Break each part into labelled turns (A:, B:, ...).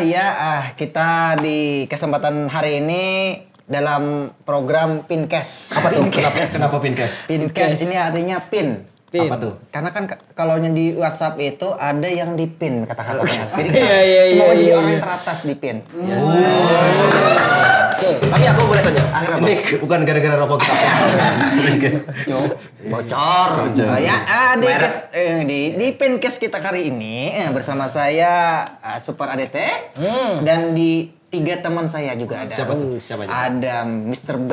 A: iya. Ah, kita di kesempatan hari ini dalam program Pincast.
B: Apa tuh? Kenapa, Eh, kenapa pincast?
A: Pincast ini artinya pin.
C: Pin.
B: Apa tuh?
A: Karena kan k- kalau yang di WhatsApp itu ada yang di pin kata-katanya. Jadi
C: Iya,
A: kita
C: iya, iya,
A: semua jadi
C: iya,
A: orang
C: iya.
A: yang teratas di pin.
B: Iya. Tapi aku boleh tanya. Ini bukan gara-gara rokok kita. Pincast.
A: Bocor.
B: Bocor.
A: Nah, Ya, ah, di,
B: Merek.
A: kes- eh, di, di Pincast kita kali ini eh, bersama saya ah, Super ADT dan di tiga teman saya juga ada. Hmm.
B: Hmm. Siapa tuh? Siapa aja?
A: Ada Mr. B,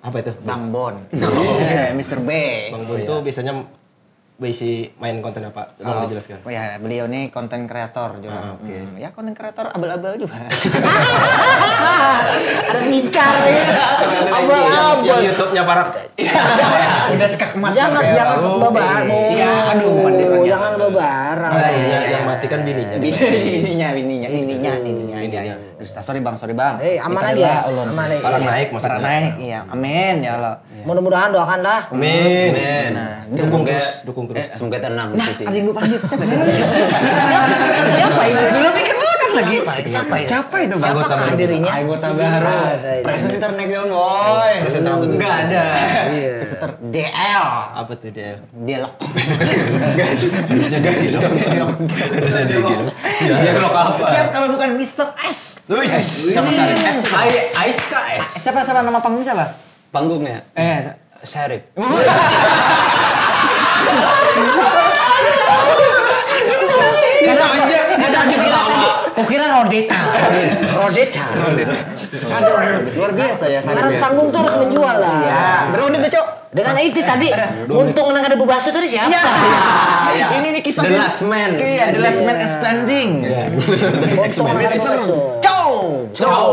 B: Apa itu?
A: Bang Bon.
B: Bang Bon.
A: Iya, Mr. B.
B: Bang Bun tuh biasanya berisi main konten apa? Tolong
A: Oh
B: dijelaskan.
A: ya, beliau nih konten kreator juga.
B: Ah, oke.
A: Hmm, ya konten kreator abal-abal juga.
C: Ada mincar ya. Iya,
B: Yang- Yang
C: Abal-abal.
B: YouTube-nya para
A: Iya, Udah sekakmat.
C: Jangan
A: sampai
C: jangan
A: abal.
C: bebar.
A: Iya, aduh,
C: aduh,
A: mandiri
C: jangan bebaran.
B: Ah, yang, yang mati kan bininya.
A: ininya, ininya, ininya, ininya.
B: Ininya.
A: Dusta, sorry bang, sorry bang.
C: Eh, aman
A: Kita
C: aja,
A: rela, ulun.
C: aman aja.
B: Orang naik maksudnya.
A: Orang naik, iya. Amin ya Allah.
C: Mudah-mudahan doakanlah.
B: Amin.
A: Nah, eh,
B: Dukung terus, dukung terus.
D: Semoga
C: Nah,
D: tenang di sini.
A: Ada yang lupa lagi, siapa sih? Siapa ini? Dulu pikir lu kan lagi. Siapa itu? Siapa Nah, itu bang?
B: Anggota
A: Siapakah
B: baru.
A: dirinya? Anggota baru. Presenter naik down, boy.
B: Presenter apa tuh?
A: Nggak ada.
C: Iya.
A: Presenter DL.
B: Apa tuh dia?
A: Dialog.
B: Harusnya gak gitu. Harusnya dia gitu. Dia blok apa?
A: Siapa kalau bukan Mr. S?
B: Luis. Sama Sari. S tuh.
D: Ais KS.
A: Eh, Siapa siapa nama panggung siapa?
D: Panggungnya
A: Eh,
D: Syarif.
A: Kada aja, kada aja ketawa. Kau kira Rodeta. Rodeta.
C: Iya,
A: Luar biasa ya
C: Karena
A: Sari.
C: panggung tuh harus menjual lah.
A: Berapa menit tuh, Cok?
C: Dengan itu tadi, untung nang ada bubasuh tadi siapa?
A: Ya. Ini nih kisah
B: Iya. The last man Iya.
A: Iya, the last man standing.
C: Untung nang ada bubasuh.
A: Cow.
B: Cow.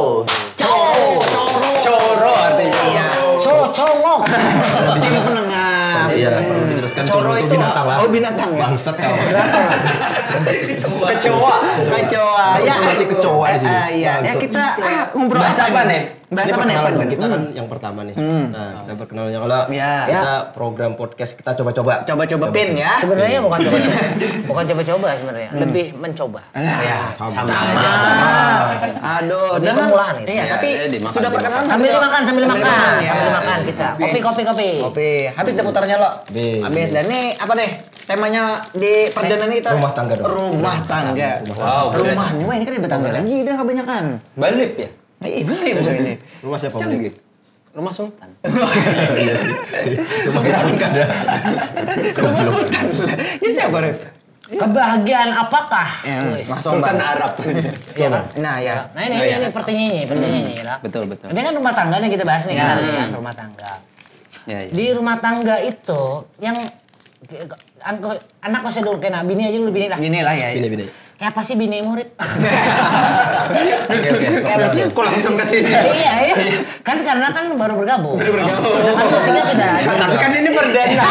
B: Coro artinya.
A: Iya.
C: Cocongok.
A: Tim penengah.
B: Iya, perlu diteruskan. Coro itu binatang lah.
A: Oh, binatang ya.
B: Bangsat kau.
A: Kecoa. Kecoa.
B: Harus berarti kecoa di sini.
A: Ya. Eh, eh, Iya. Ya
B: Bangsat.
A: kita ah, ngobrol
D: Bahasa apa, Nek?
A: Bahasa apa Hmm.
B: Ini
A: nih?
B: perkenalan kan kita kan yang pertama nih. Nah, kita perkenalannya kalau
A: Ya.
B: kita program podcast kita coba-coba.
A: Coba-coba pin ya.
C: Sebenarnya bukan coba-coba. Bukan coba-coba sebenarnya. Lebih mencoba.
A: Ya.
B: Sama.
A: Aduh,
C: Lebih
A: dengan-
C: permulaan itu.
A: Iya,
D: Ya,
A: tapi
D: ya, dimakan, dimakan.
A: sudah perkenalan
C: Sambil
A: Sambil
C: makan, sambil makan.
A: ya.
C: Sambil makan kita. Kopi, kopi, kopi.
A: Kopi. Habis deh putarnya lo.
B: Habis.
A: Habis. Dan nih apa deh? Temanya di perdana nih kita
B: Rumah tangga dong.
A: Rumah tangga.
D: Wow, keren.
A: Rumahnya wah ini kan ada tangga lagi udah kebanyakan.
D: Balip ya?
A: Iya, bener ya, bener ini.
B: Rumah siapa?
D: Jangan
B: Bang?
D: gitu. Rumah Sultan.
B: Iya sih. Rumah kita sudah.
A: Rumah Sultan. Ya siapa, Ref?
C: Iya. Kebahagiaan apakah?
A: Ya, Iya,
C: Wis.
D: Sultan Arab.
C: Iya kan?
A: Nah, ya.
C: Nah ini, ini, ini pertanyaannya, pertanyaannya lah.
D: Betul, betul.
C: Ini kan rumah tangga nih kita bahas nih kan, kan rumah tangga.
A: Iya,
D: Ya, ya.
C: Di rumah tangga itu yang angko- anak kosnya dulu kena bini aja dulu bini lah.
A: Gini lah ya.
B: Bini bini.
C: Kayak apa sih bini murid?
B: Oke oke.
A: Kayak apa sih?
D: Kok langsung ke sini?
C: iya, iya. Kan karena kan baru bergabung. Baru bergabung. Nah, kan bertiga sudah.
D: Tapi kan ini perdana.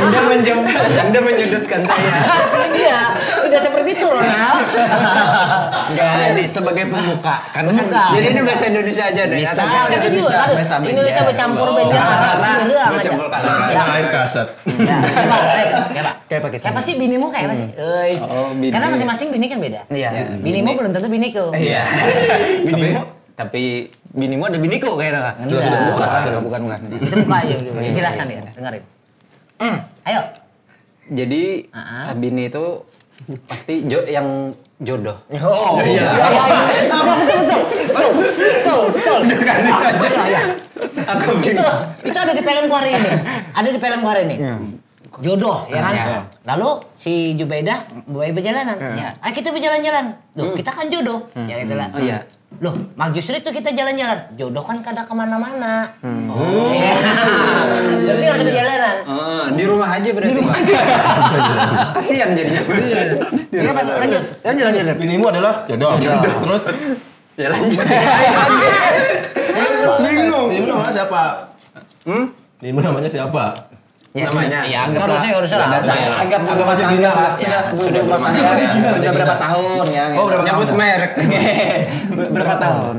D: Anda menjemput, Anda menyudutkan saya.
C: Iya, tidak seperti itu Ronald.
A: Enggak, ini sebagai pembuka. Karena kan
C: Pembuka.
D: Jadi ini bahasa Indonesia aja deh.
A: Bisa.
D: Atau
C: Kan
A: Bisa,
C: juga, aduh,
A: bisa, Oh.
C: Indonesia
A: bisa.
C: bercampur
D: Wow.
C: beda.
D: Kalas,
C: Iya, aja.
D: bercampur kalas.
C: Ya.
B: Lain kasat.
A: Iya.
C: Ya, coba, ayo, coba.
A: Kayak pakai
C: Siapa sih binimu kayak apa sih? Eis.
D: Oh, bini.
C: Karena masing-masing bini kan beda.
A: Iya.
C: Binimu belum tentu biniku.
A: Iya.
D: Binimu?
A: Binimu tapi binimu ada biniko kayaknya kan?
C: Sudah, sudah,
B: sudah,
A: Bukan, bukan, bukan.
C: Itu buka
A: iya,
C: ayo, yuk, yuk. jelaskan ya, dengerin. Ayo.
D: Jadi
A: Uh-huh. eh,
C: Ah.
D: bini itu pasti jo- yang jodoh.
A: Oh, iya.
C: Betul, betul, betul, betul. Betul, ya.
D: Aku
C: Itu, itu ada di film Korea ini. Ada di film Korea ini. Jodoh, ya kan?
D: Iya.
C: Lalu si Jubaidah mulai berjalanan. Ya. Ah, kita berjalan-jalan. Loh, kita kan jodoh. Ya gitu lah.
D: Hmm. Oh, iya.
C: Loh, mak justru itu kita jalan-jalan. Jodoh kan kadang kemana-mana. Oh.
D: Oh.
C: Jadi
D: Iya.
C: harus berjalanan.
D: Ah, di rumah aja berarti. Di rumah aja. Kasihan jadinya.
C: Iya, Pak, lanjut.
A: Lanjut, lanjut. Rep.
B: Binimu adalah jodoh. Terus
D: Ya lanjut.
B: bingung. Binimu namanya siapa? Hmm? Binimu namanya siapa?
D: Namanya.
A: Ya,
C: Enggak harusnya, enggak harusnya lah.
A: Saya
C: Harusnya.
A: Iya. anggap berapa
B: Anggap aja
A: tangga
B: gini,
A: lah.
B: sudah-
A: Sudah
D: sudah berapa
A: berapa tangga?
D: tahun, ya.
A: Sudah berapa tahun ya? gitu.
B: Oh, berapa
D: Nyebut
B: tahun?
D: merek.
A: Berapa tahun?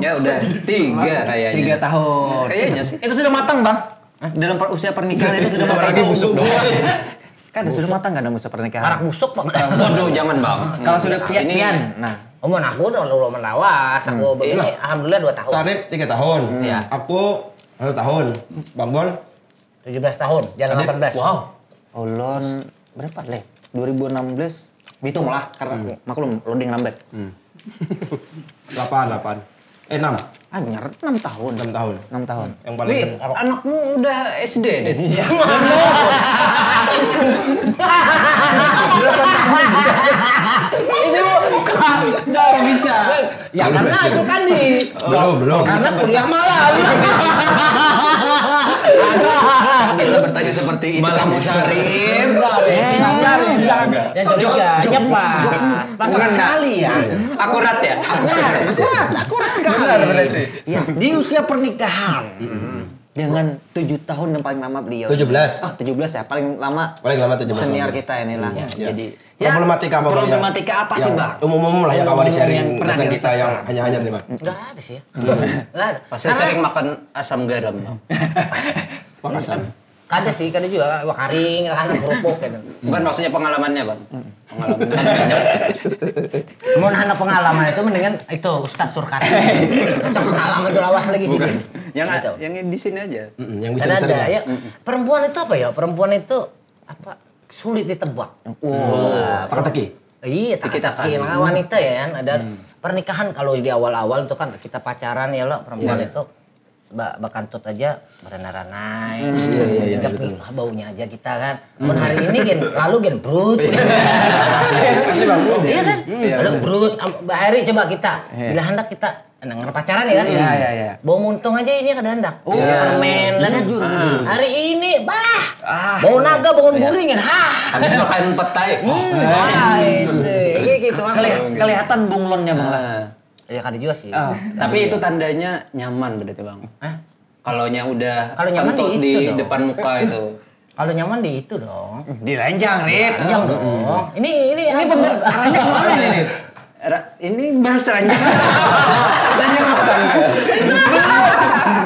D: ya udah tiga kayaknya.
A: Tiga tahun.
D: Kayaknya sih.
A: Itu sudah matang, Bang. Dalam per- usia pernikahan itu sudah
B: Bentar
A: matang.
B: lagi busuk dong.
A: Kan sudah matang kan dalam usia pernikahan?
C: Arak busuk, Pak.
D: Waduh, jangan bang.
A: Kalau sudah pian,
D: Ini-
A: pian. Nah,
C: Omongan aku udah lu menawas, aku begini,
D: Iya.
B: Lah.
C: alhamdulillah 2 tahun.
B: Tarif tiga tahun.
A: Hmm.
C: Iya.
B: Aku satu tahun. Bang Bol,
C: 17 tahun, jangan
B: Tarif.
C: 18. Wow.
A: Ulon berapa leh? 2016. Hitung lah karena Hmm. maklum loading lambat.
B: delapan, delapan. Eh enam,
A: Anjir, 6 Ah, tahun.
B: enam tahun.
A: 6 tahun.
B: Yang paling
A: Wih, anakmu udah SD, Dit.
D: Gak bisa.
C: Ya karena itu Iya, tadi.
A: Oh,
B: belum belum.
C: Karena kuliah malam.
A: Bisa bertanya seperti itu kamu Sarim.
C: Yang
A: Iya,
C: curiga, nyepas. Pasang
D: Bukan
C: sekali.
D: sekali
B: Iya,
D: ya. Akurat ya.
A: Akurat, akurat, akurat sekali.
D: Benar berarti.
A: Ya, di usia pernikahan. Dengan 7 tahun yang paling lama beliau.
B: 17.
A: Ah, 17 ya, paling lama.
B: Paling lama 17
A: Senior
B: tahun.
A: kita inilah. Iya.
B: Ya.
A: Jadi,
B: problematika apa Bang?
A: Problematika apa sih,
B: Yang
A: Bang?
B: Umum-umum lah yang kawan di
A: Yang
B: sharing
A: pernah
B: pesan
A: dirasakan.
B: kita yang hanya-hanya nih Bang.
C: Enggak ada sih ya. Enggak
A: Saya
C: ada. Karena-
A: sering makan asam garam. Bang.
B: Makassar.
C: Kada sih, kada juga. Wah karing, anak kerupuk gitu.
A: Bukan maksudnya pengalamannya, Bang. Pengalamannya.
C: Mau anak pengalaman itu mendingan itu Ustadz Surkati. Cek pengalaman tuh lawas lagi sih. Bin.
D: Yang
C: Gitu.
D: yang di sini aja.
B: Mm-mm, Yang bisa
C: Karena
B: bisa.
C: ada ya. Perempuan itu apa ya? Perempuan itu apa sulit ditebak. Wah,
B: Teka-teki.
C: Iya, teki-teki. Nah, wanita ya kan ada pernikahan kalau di awal-awal itu kan kita pacaran ya lo perempuan itu ba bakantut aja
B: Iya,
C: berana-ranai.
B: iya, iya,
C: Nggak
B: betul.
C: pernah baunya aja kita kan. Mun hari ini gen lalu gen brut.
B: Asli Bang.
C: Iya kan? Lalu brut Am- Mbak Heri coba kita bila hendak kita nah, ngerti pacaran ya kan?
D: Iya, iya, iya.
C: Bau muntung aja ini kada hendak. Oh, permen lah kan. Hari ini bah. bau naga bangun guring kan. Hah.
A: Habis makan petai.
E: Oh,
C: Hmm, wah, itu. Iya gitu makanya.
A: Keli- kelihatan bunglonnya,
E: Iya.
A: Bang.
E: Nah.
A: lah.
C: Ya kada juga sih.
A: Ah,
C: iya. Eh,
E: Tapi itu tandanya nyaman berarti bang.
C: Hah?
E: Kalau nya udah
C: Kalau nyaman
E: kentut
C: di
E: di,
C: itu dong.
E: depan muka itu.
C: Kalau nyaman di itu dong.
A: Di ranjang, Rip.
C: Panjang dong. Ini ini ini
A: Ranjang mana ini, Rip?
D: Ra- ini bahas ranjang.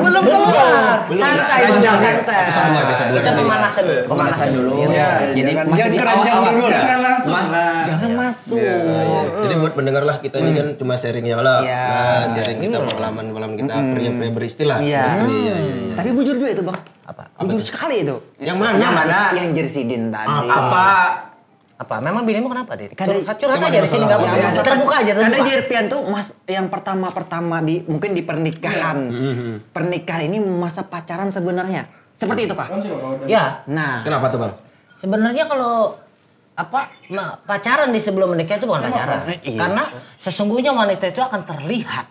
C: belum keluar. Santai,
D: Belum.
C: santai.
B: Episode dua, episode dua
C: Kita
B: nanti.
C: pemanasan dulu. Pemanasan dulu.
D: Iya,
A: Jadi
D: jangan-
A: masih
D: jangan
A: di
D: keranjang
A: awal-awal.
D: dulu lah.
A: Jangan langsung.
D: Mas,
A: Jangan masuk.
B: Iya, Jadi buat pendengar lah kita ini kan cuma sharing ya lah.
A: Oh, Hmm. Iya. Hmm.
B: Nah, sharing kita pengalaman pengalaman kita pria-pria beristilah.
A: Iya.
B: Beristri, ya, ya, ya.
A: Tapi bujur juga itu, Bang.
C: Apa?
A: Bujur sekali itu.
B: Yang mana?
A: Yang jersey din tadi.
D: Apa?
C: Apa? Memang binimu kenapa, Dit?
A: Kada-
C: Curhat curhat aja di sini enggak
A: Ya,
C: apa-apa.
A: masa-
C: Terbuka aja,
A: Karena
C: terbuka.
A: Jirpian tuh mas yang pertama pertama di mungkin di pernikahan. Pernikahan ini masa pacaran sebenarnya. Seperti itu kah?
C: Ya,
A: Nah,
B: Kenapa tuh Bang?
C: Sebenarnya kalau apa ma- pacaran di sebelum menikah itu bukan pacaran. Karena sesungguhnya wanita itu akan terlihat.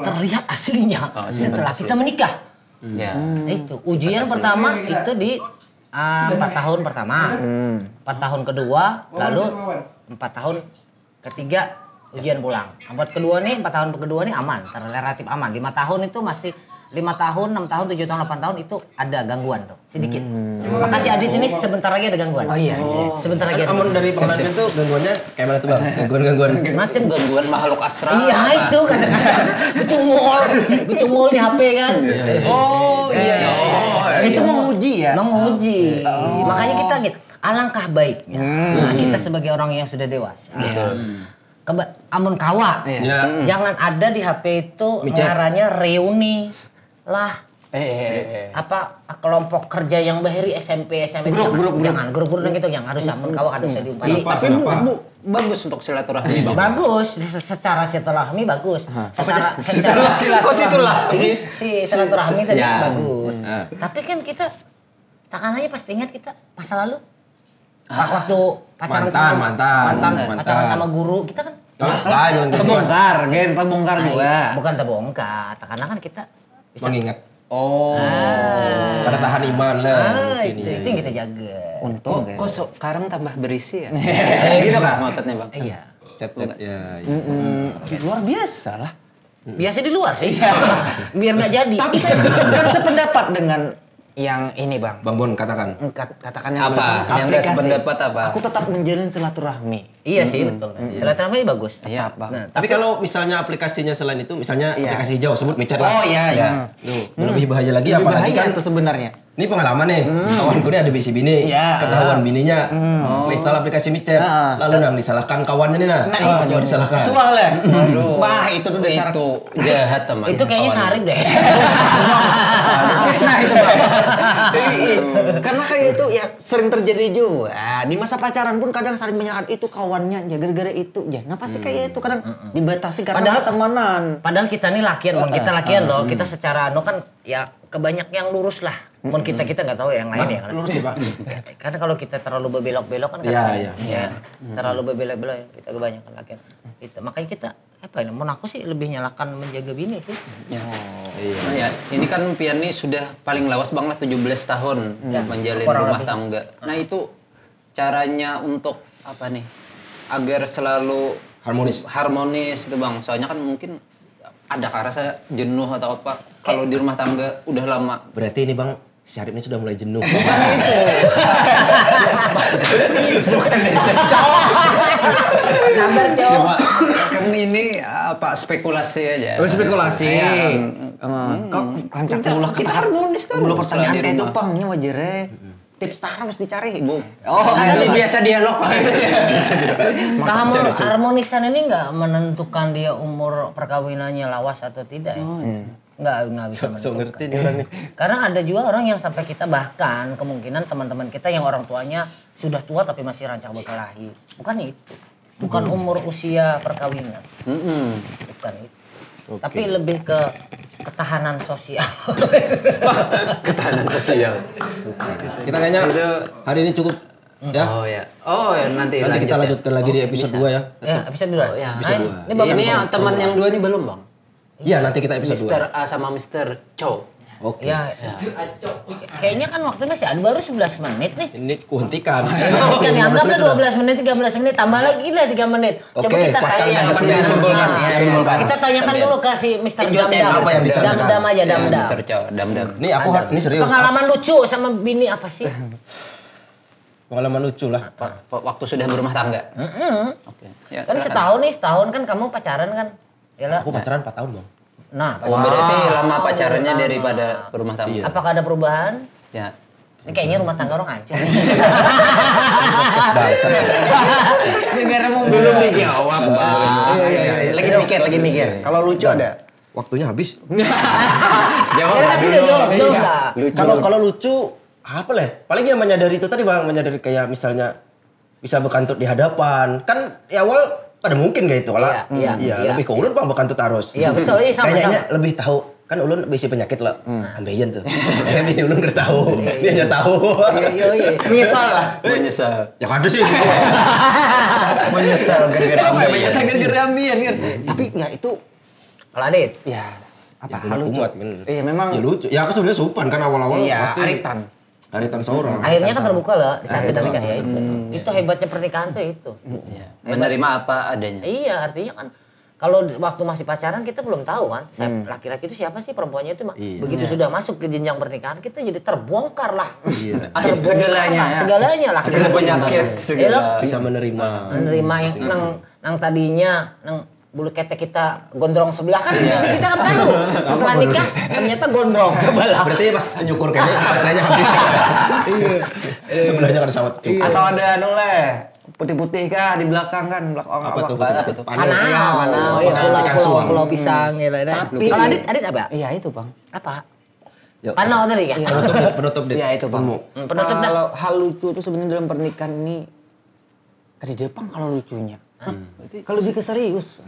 C: Terlihat aslinya setelah kita menikah.
E: Ya.
C: Itu ujian pertama itu di ah, empat tahun pertama, empat tahun kedua, lalu empat tahun ketiga ujian pulang. Empat kedua nih, empat tahun kedua nih aman, relatif aman. Lima tahun itu masih lima tahun, enam tahun, tujuh tahun, delapan tahun itu ada gangguan tuh sedikit. Maka si Adit ini sebentar lagi ada gangguan. Hmm. Oh iya. Sebentar lagi. Ada.
B: Amun dari pengalaman itu gangguannya kayak mana tuh Bang? Gangguan-gangguan.
C: Macam
E: Gangguan makhluk astral.
C: Iya
E: apa?
C: itu kadang-kadang becungol, becungol di HP kan. Oh iya. Oh,
A: Itu menguji ya?
C: Menguji. Makanya kita gitu. Alangkah baiknya nah, kita sebagai orang yang sudah dewasa. Keba- amun kawa,
B: Iya.
C: jangan ada di HP itu caranya reuni lah eh, apa kelompok kerja yang bahari SMP SMP grup, grup, Hmm. jangan grup grup gitu yang harus amun kawa harus usah diumpali
B: Kenapa? Kenapa?
E: Bagus untuk silaturahmi bang.
C: bagus se- secara silaturahmi bagus secara secara
D: Kok situlah?
C: si silaturahmi tadi bagus tapi kan kita takkan aja pasti ingat kita masa lalu waktu pacaran
B: Mantan,
C: sama
B: mantan,
C: mantan,
B: mantan.
C: pacaran sama guru kita kan
B: Lah, lain
A: terbongkar, gen terbongkar juga.
C: bukan terbongkar karena kan kita bisa
B: mengingat.
A: Oh.
E: Ah.
B: Karena tahan iman lah
C: ah,
B: mungkin
C: itu,
B: ya.
C: itu yang
A: gitu.
C: kita jaga
A: Untung.
E: Kok,
A: gen.
E: kok sekarang tambah berisi ya? gitu kah maksudnya bang?
C: iya
B: Cet-cet ya. ya.
A: Luar biasa lah.
C: biasa di luar sih biar nggak jadi
A: Tapi saya bukan sependapat dengan yang ini, Bang. Mm,
B: Bang Bon katakan.
A: Kat- Katakan
E: Apa?
A: yang betul.
E: Yang tidak
A: Aplikasi.
E: sependapat apa?
A: Aku tetap menjalin silaturahmi.
C: iya sih betul silaturahmi bagus
E: Iya,
A: Tetap, Bang.
C: Nah,
B: Tapi kalau misalnya aplikasinya selain itu, misalnya aplikasi hijau sebut micet
A: Iya. Oh
B: lah.
A: iya, iya.
B: Tuh, lebih bahaya
A: Lebih
B: lagi
E: Iya,
B: apalagi
A: bahaya
B: kan
A: itu sebenarnya.
B: Ini pengalaman nih, kawanku ini ada bisi bini,
A: Iya.
B: ketahuan bininya, install aplikasi micet,
A: Ah.
B: lalu nang disalahkan kawannya nih nah,
E: Ah,
B: nah disalahkan.
A: Soalnya, wah itu tuh dasar.
E: itu jahat teman
C: Itu kayaknya sarip deh.
A: Nah itu Bang. Karena kayak itu ya sering terjadi juga. Di masa pacaran pun kadang saling menyalahkan itu kawannya, ya gara-gara itu. Ya, kenapa sih
E: Hmm.
A: kayak itu kadang dibatasi karena
C: Padahal-
A: pertemanan.
C: Padahal kita nih lakian, mon
B: Ah,
C: kita lakian loh. Kita secara anu kan ya kebanyak yang lurus lah. Mon kita kita nggak tahu yang lain ya. kan?
B: Lurus ya pak.
C: Ya, Karena kalau kita terlalu berbelok-belok kan
B: Iya,
C: kadang-
B: iya.
C: ya, terlalu berbelok-belok ya kita kebanyakan lakian. Gitu. Makanya kita apa ya? Mon aku sih lebih nyalakan menjaga bini sih.
B: Iya.
E: Nah, ya, ini kan Pian nih sudah paling lawas banget 17 tahun menjalin
C: Ya. Kurang
E: rumah
C: lebih. Ah.
E: tangga. Nah, itu caranya untuk apa nih? Agar selalu
B: Harmonis.
E: harmonis itu, Bang. Soalnya kan mungkin ada karena saya jenuh atau apa kalau di rumah tangga udah lama.
B: Berarti ini bang, si Arif ini sudah mulai jenuh.
E: Iya. Cuma kan ini apa spekulasi aja.
D: Oh, spekulasi.
E: Iya.
A: Kok rancang
E: Kita-
A: ulah
E: kita
A: kita
E: harmonis terus.
A: Ulah pertanyaan
E: Di
A: kayak itu
E: rumah.
A: pangnya wajarnya. Tips tara harus dicari.
E: Bu.
A: Oh,
E: Iya.
C: kan?
A: ini
B: iya.
A: biasa dialog.
C: Kamu harmonisan ini nggak menentukan dia umur perkawinannya lawas atau tidak ya? Nggak nggak bisa
B: Oh, iya. So
C: menentukan.
B: ngerti nih orang nih.
C: Karena ada juga orang yang sampai kita bahkan kemungkinan teman-teman kita yang orang tuanya sudah tua tapi masih rancang berkelahi. Bukan itu. Bukan
B: Hmm.
C: umur usia perkawinan. Bukan itu. Tapi lebih ke ketahanan sosial.
B: Ketahanan sosial. Kita kayaknya hari ini cukup ya.
E: Oh ya. Oh ya nanti
B: Nanti kita
E: ya.
B: lanjutkan lagi di
E: Oke,
B: episode
E: bisa.
B: 2 ya.
C: ya, episode dua.
E: Ya,
C: Nah,
E: bisa
C: ini-
B: dua.
C: Ini bagus.
E: Ini yang teman yang dua ini belum, Bang.
B: Iya nanti kita episode
E: Mr.
B: 2.
E: A sama Mr. Chow.
B: Oke.
C: Ya, ya. Kayaknya kan waktunya masih ada baru 11 menit nih.
B: Ini kuhentikan.
C: Bukan
B: Ini 15
C: dianggap
B: menit udah.
C: 12 menit, 13 menit, tambah lagi lah 3 menit. Coba
B: Oke,
C: kita
B: pas
C: tanya.
E: kalian
C: Nah,
E: disimpulkan, disimpulkan.
C: nah,
B: Disimpulkan. Iya,
C: Kita tanyakan dulu ke si Mr. Dam Dam.
B: apa yang Iya, ditanyakan.
C: Dam Dam
E: Iya,
C: aja, Dam Dam.
E: Mr. Chow, dam dam.
B: Ini aku har- ini serius.
C: Pengalaman lucu sama bini apa sih?
B: Pengalaman lucu lah.
E: Wa- wa- Waktu sudah berumah tangga. Oke. Hmm? Ya,
C: Kan
E: silakan.
C: setahun nih, setahun kan kamu pacaran kan? Yalah.
B: Aku pacaran 4 tahun bang.
C: Nah,
E: Oh,
C: pacaran.
E: berarti lama pacarannya daripada berumah tangga.
B: Iya.
C: apakah ada perubahan?
E: Ya.
C: Ini kayaknya rumah tangga orang aja.
D: Ah. Iya,
B: Bangsa.
E: Belum dijawab,
B: Iya,
E: Bang. Iya,
D: Lagi mikir, lagi mikir. Kalau lucu ada. Nah,
B: Waktunya habis.
D: Jawab
C: Karena
D: nggak
C: sih udah
D: dulu?
C: jawab, jawab
D: Iya.
C: lah.
B: Kalau kalau lucu apa lah? ya? Paling yang menyadari itu tadi bang menyadari kayak misalnya bisa berkantut di hadapan kan di awal ada mungkin gak itu kalau
C: Iya, iya, iya.
B: lebih ke ulun bang berkantut harus
C: Iya, betul. Iya, sama,
B: kayaknya lebih tahu kan ulun bisa penyakit lah
D: Hmm.
B: ambeien tuh Iya, ini ulun nggak tahu
D: iya.
B: dia hanya tahu
C: Iya, iya, iya.
D: Menyesal lah.
E: Menyesal.
B: ya ada sih
D: Menyesal gara-gara
B: Iya,
E: Kenapa
D: ambien.
E: nggak biasa gara-gara ambien kan?
A: Tapi nggak itu
C: Kalau Adit,
B: Iya.
A: ya apa
B: ya,
A: hal lucu.
B: kumat kan
A: Iya memang.
B: ya lucu ya aku sebenarnya sopan kan awal-awal
A: Iya,
B: pasti
A: aritan.
B: aritan seorang
C: akhirnya kan terbuka lah di saat kita
B: Akhirnya
C: nikah ya. itu. Itu hebatnya pernikahan tuh itu.
E: Ya. Menerima apa adanya.
C: Iya, artinya kan kalau waktu masih pacaran kita belum tahu kan saya- laki-laki itu siapa sih perempuannya itu mah.
B: Iya.
C: begitu sudah masuk ke jenjang pernikahan kita jadi terbongkar lah
B: Iya.
C: Terbongkar
D: Segalanya,
C: lah,
D: ya.
C: segalanya laki-laki
D: Segala penyakit,
C: Iya loh.
D: segala.
B: bisa menerima
C: menerima yang nang nang tadinya nang bulu ketek kita gondrong sebelah kan kita kan tahu setelah
B: gondrong?
C: nikah ternyata gondrong coba lah
B: berarti pas nyukur kayaknya baterainya habis Iya. sebelahnya kan sawat
A: Iya.
B: cukup
D: Atau ada anu leh, putih-putih kah di belakang kan belakang
B: apa tuh
D: belakang.
B: betul-betul
C: panau
B: ya, panau
C: iya,
B: Panau,
C: pulau
B: ikan
C: pulau
B: suang.
C: pulau pisang gitu ya
A: Tapi-
C: kalau adit adit apa
A: Iya itu bang.
C: apa
B: Yuk.
C: panau tadi kan
B: penutup dit penutup Kan dit
A: Iya itu bang.
B: Temu.
C: Hmm, penutup dah.
A: Kalau hal lucu itu sebenarnya dalam pernikahan ini tadi depan kalau lucunya. Kalau lebih ke serius.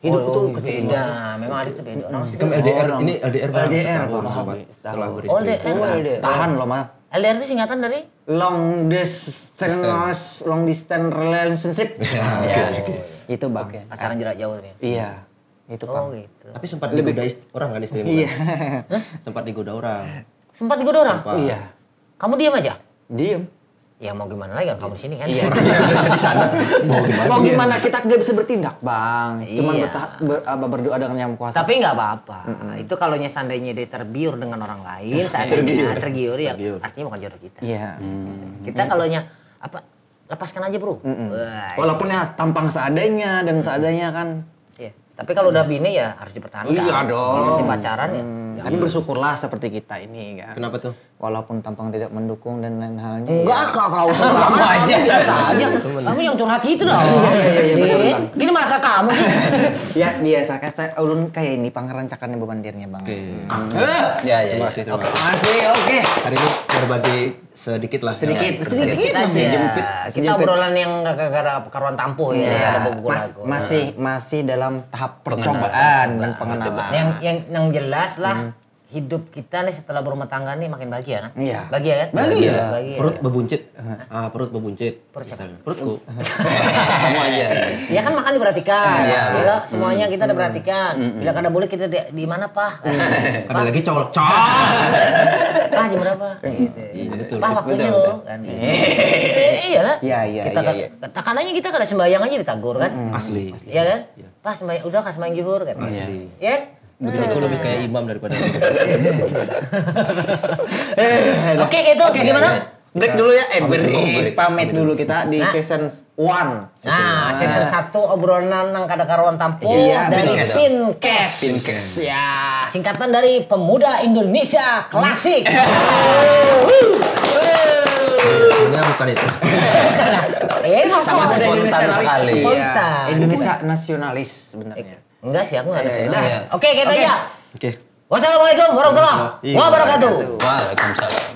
A: Hidup
C: Oh,
A: tuh
C: beda.
A: kesini.
C: Memang Adit tuh beda. Orang sih gitu.
B: Kamu LDR
A: Orang.
B: ini LDR bang
A: LDR,
B: setahun
A: Bang.
B: sobat setelah
C: Oh,
B: beristri
C: LDR.
A: Tahan loh mah.
C: LDR itu singkatan dari
A: Long distance, long distance relationship.
B: oke,
A: Ya. Itu bang.
C: pacaran jarak jauh tadi.
A: Iya. Itu bang.
C: Oh gitu.
B: tapi sempat digoda ist- orang kan istrimu
A: Iya.
B: kan? sempat digoda orang
C: Sempat digoda orang.
B: Sempat.
A: Iya.
C: Kamu diam aja.
A: Diem.
C: Ya mau gimana lagi kan kamu di sini kan.
B: di sana mau gimana
A: Mau gimana kita nggak bisa bertindak bang. Cuman
C: Iya.
A: berta- ber- apa, berdoa dengan yang kuasa.
C: Tapi nggak apa-apa. Itu kalau seandainya dia terbiur dengan orang lain, seandainya tergiur, ya
B: Tergiur.
C: artinya bukan jodoh kita.
A: Iya.
C: Kita kalau nya apa lepaskan aja bro. Wah,
A: Walaupun ya tampang seadanya dan seadanya kan.
C: iya. Tapi kalau udah bini ya harus dipertahankan.
A: Iya dong.
C: Kalau masih pacaran ya.
A: Tapi bersyukurlah Hmm. seperti kita ini kan.
B: kenapa tuh
A: walaupun tampang tidak mendukung dan lain halnya. ya.
C: Enggak, kak, kau sama aja biasa aja. Kamu yang curhat gitu dong. Dik, Gini malah ke kamu sih.
A: Ya biasa kayak saya ulun kayak ini pangeran cakarnya bandirnya bang.
B: Oke.
E: Ya, ya, ya.
B: Terima kasih, terima kasih.
A: Masih oke.
B: Hari ini berbagi sedikit lah.
A: Sedikit,
B: Ya.
A: sedikit masih jempit.
C: Kita obrolan yang gak gara karuan tampuh ya.
A: Ya,
C: Ada buku
A: mas-
C: lagu.
A: masih masih dalam tahap percobaan dan pengenalan.
C: Yang yang yang jelas lah hidup kita nih setelah berumah tangga nih makin bahagia kan?
A: Iya.
C: Bahagia kan?
B: Iya,
C: Bahagia.
B: perut berbuncit. Ah, perut berbuncit.
C: Perut siapa?
B: Misalnya, Perutku.
E: Kamu aja.
C: Ya kan makan diperhatikan.
E: Iya.
C: Bila semuanya kita diperhatikan. Bila kada boleh kita di, di mana, Pak?
B: Ada lagi colok. Cos.
C: Pak, jam berapa? Gitu.
B: Iya, betul.
C: Pak, waktunya
E: betul,
C: lo. Kan? Eh, Iyalah.
A: Iya, iya,
C: Kita
A: iya,
C: kan
A: iya.
C: tekanannya kita kada sembayang aja ditagur kan?
B: Asli.
C: Iya kan? Pak, sembayang udah kasih sembayang juhur kan?
B: Asli.
C: Iya. kan?
B: Betul, aku lebih kayak imam daripada
C: Nah, Oke, itu oke gimana?
A: Break dulu ya, eh break,
B: dulu, break.
A: pamit dulu kita di season Ah. 1.
C: Nah, season satu obrolan nang kada karuan tampuh
A: Iya,
C: dari
B: Pinkes.
C: Pinkes.
E: Pinkes.
C: Ya, singkatan dari Pemuda Indonesia Klasik. Eh,
B: Iya, Sebenarnya bukan itu.
C: eh,
E: Sangat
C: apa?
E: spontan sekali.
C: Spontan.
A: Indonesia nasionalis sebenarnya.
C: Enggak sih, aku enggak ada.
E: iya.
C: Oke, kita
A: Oke.
C: aja.
B: Oke.
C: Wassalamualaikum warahmatullahi
B: Iya.
C: wabarakatuh.
E: Waalaikumsalam.